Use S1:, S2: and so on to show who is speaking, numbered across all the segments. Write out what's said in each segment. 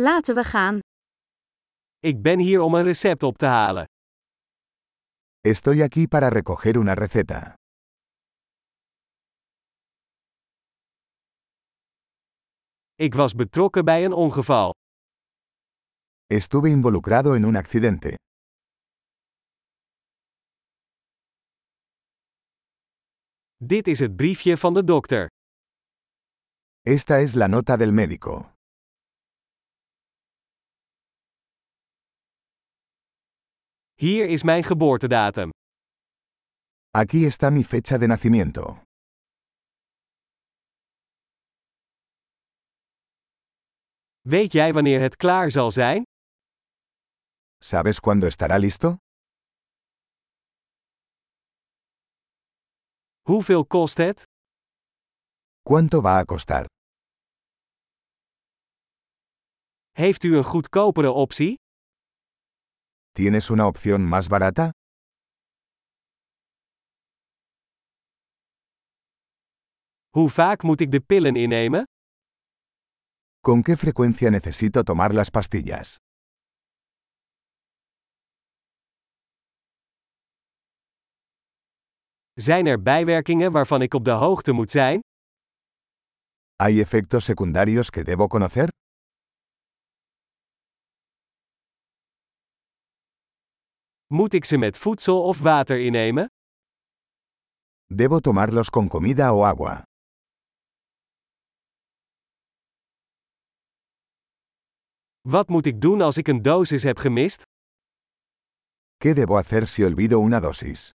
S1: Laten we gaan.
S2: Ik ben hier om een recept op te halen.
S3: Estoy aquí para recoger una receta.
S2: Ik was betrokken bij een ongeval.
S3: Estuve involucrado en un accidente.
S2: Dit is het briefje van de dokter.
S3: Esta es la nota del médico.
S2: Hier is mijn geboortedatum.
S3: Aquí está mi fecha de nacimiento.
S2: Weet jij wanneer het klaar zal zijn?
S3: ¿Sabes cuándo estará listo?
S2: Hoeveel kost het?
S3: ¿Cuánto va a costar?
S2: Heeft u een goedkopere optie?
S3: ¿Tienes una opción más barata?
S2: Hoe vaak moet ik de pillen innemen?
S3: ¿Con qué frecuencia necesito tomar las pastillas?
S2: Zijn er bijwerkingen waarvan ik op de hoogte moet zijn?
S3: ¿Hay efectos secundarios que debo conocer?
S2: Moet ik ze met voedsel of water innemen?
S3: ¿Debo tomarlos con comida o agua?
S2: Wat moet ik doen als ik een dosis heb gemist?
S3: ¿Qué debo hacer si olvido una dosis?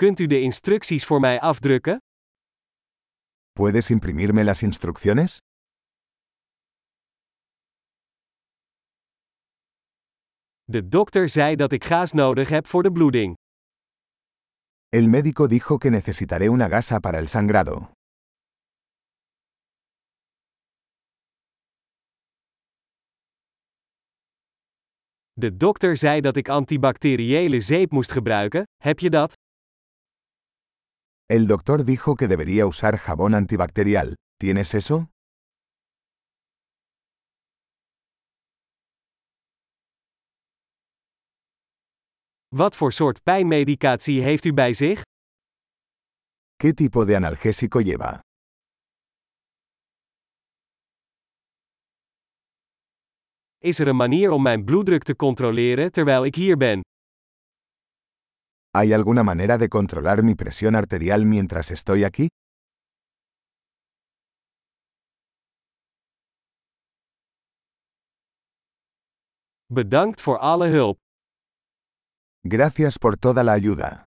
S2: Kunt u de instructies voor mij afdrukken?
S3: ¿Puedes imprimirme las instrucciones?
S2: De dokter zei dat ik gaas nodig heb voor de bloeding.
S3: El médico dijo que necesitaré una gasa para el sangrado.
S2: De dokter zei dat ik antibacteriële zeep moest gebruiken. Heb je dat?
S3: El doctor dijo que debería usar jabón antibacterial. ¿Tienes eso?
S2: Wat voor soort pijnmedicatie heeft u bij zich?
S3: ¿Qué tipo de analgésico lleva?
S2: Is er een manier om mijn bloeddruk te controleren terwijl ik hier ben?
S3: ¿Hay alguna manera de controlar mi presión arterial mientras estoy aquí?
S2: Bedankt voor alle hulp.
S3: Gracias por toda la ayuda.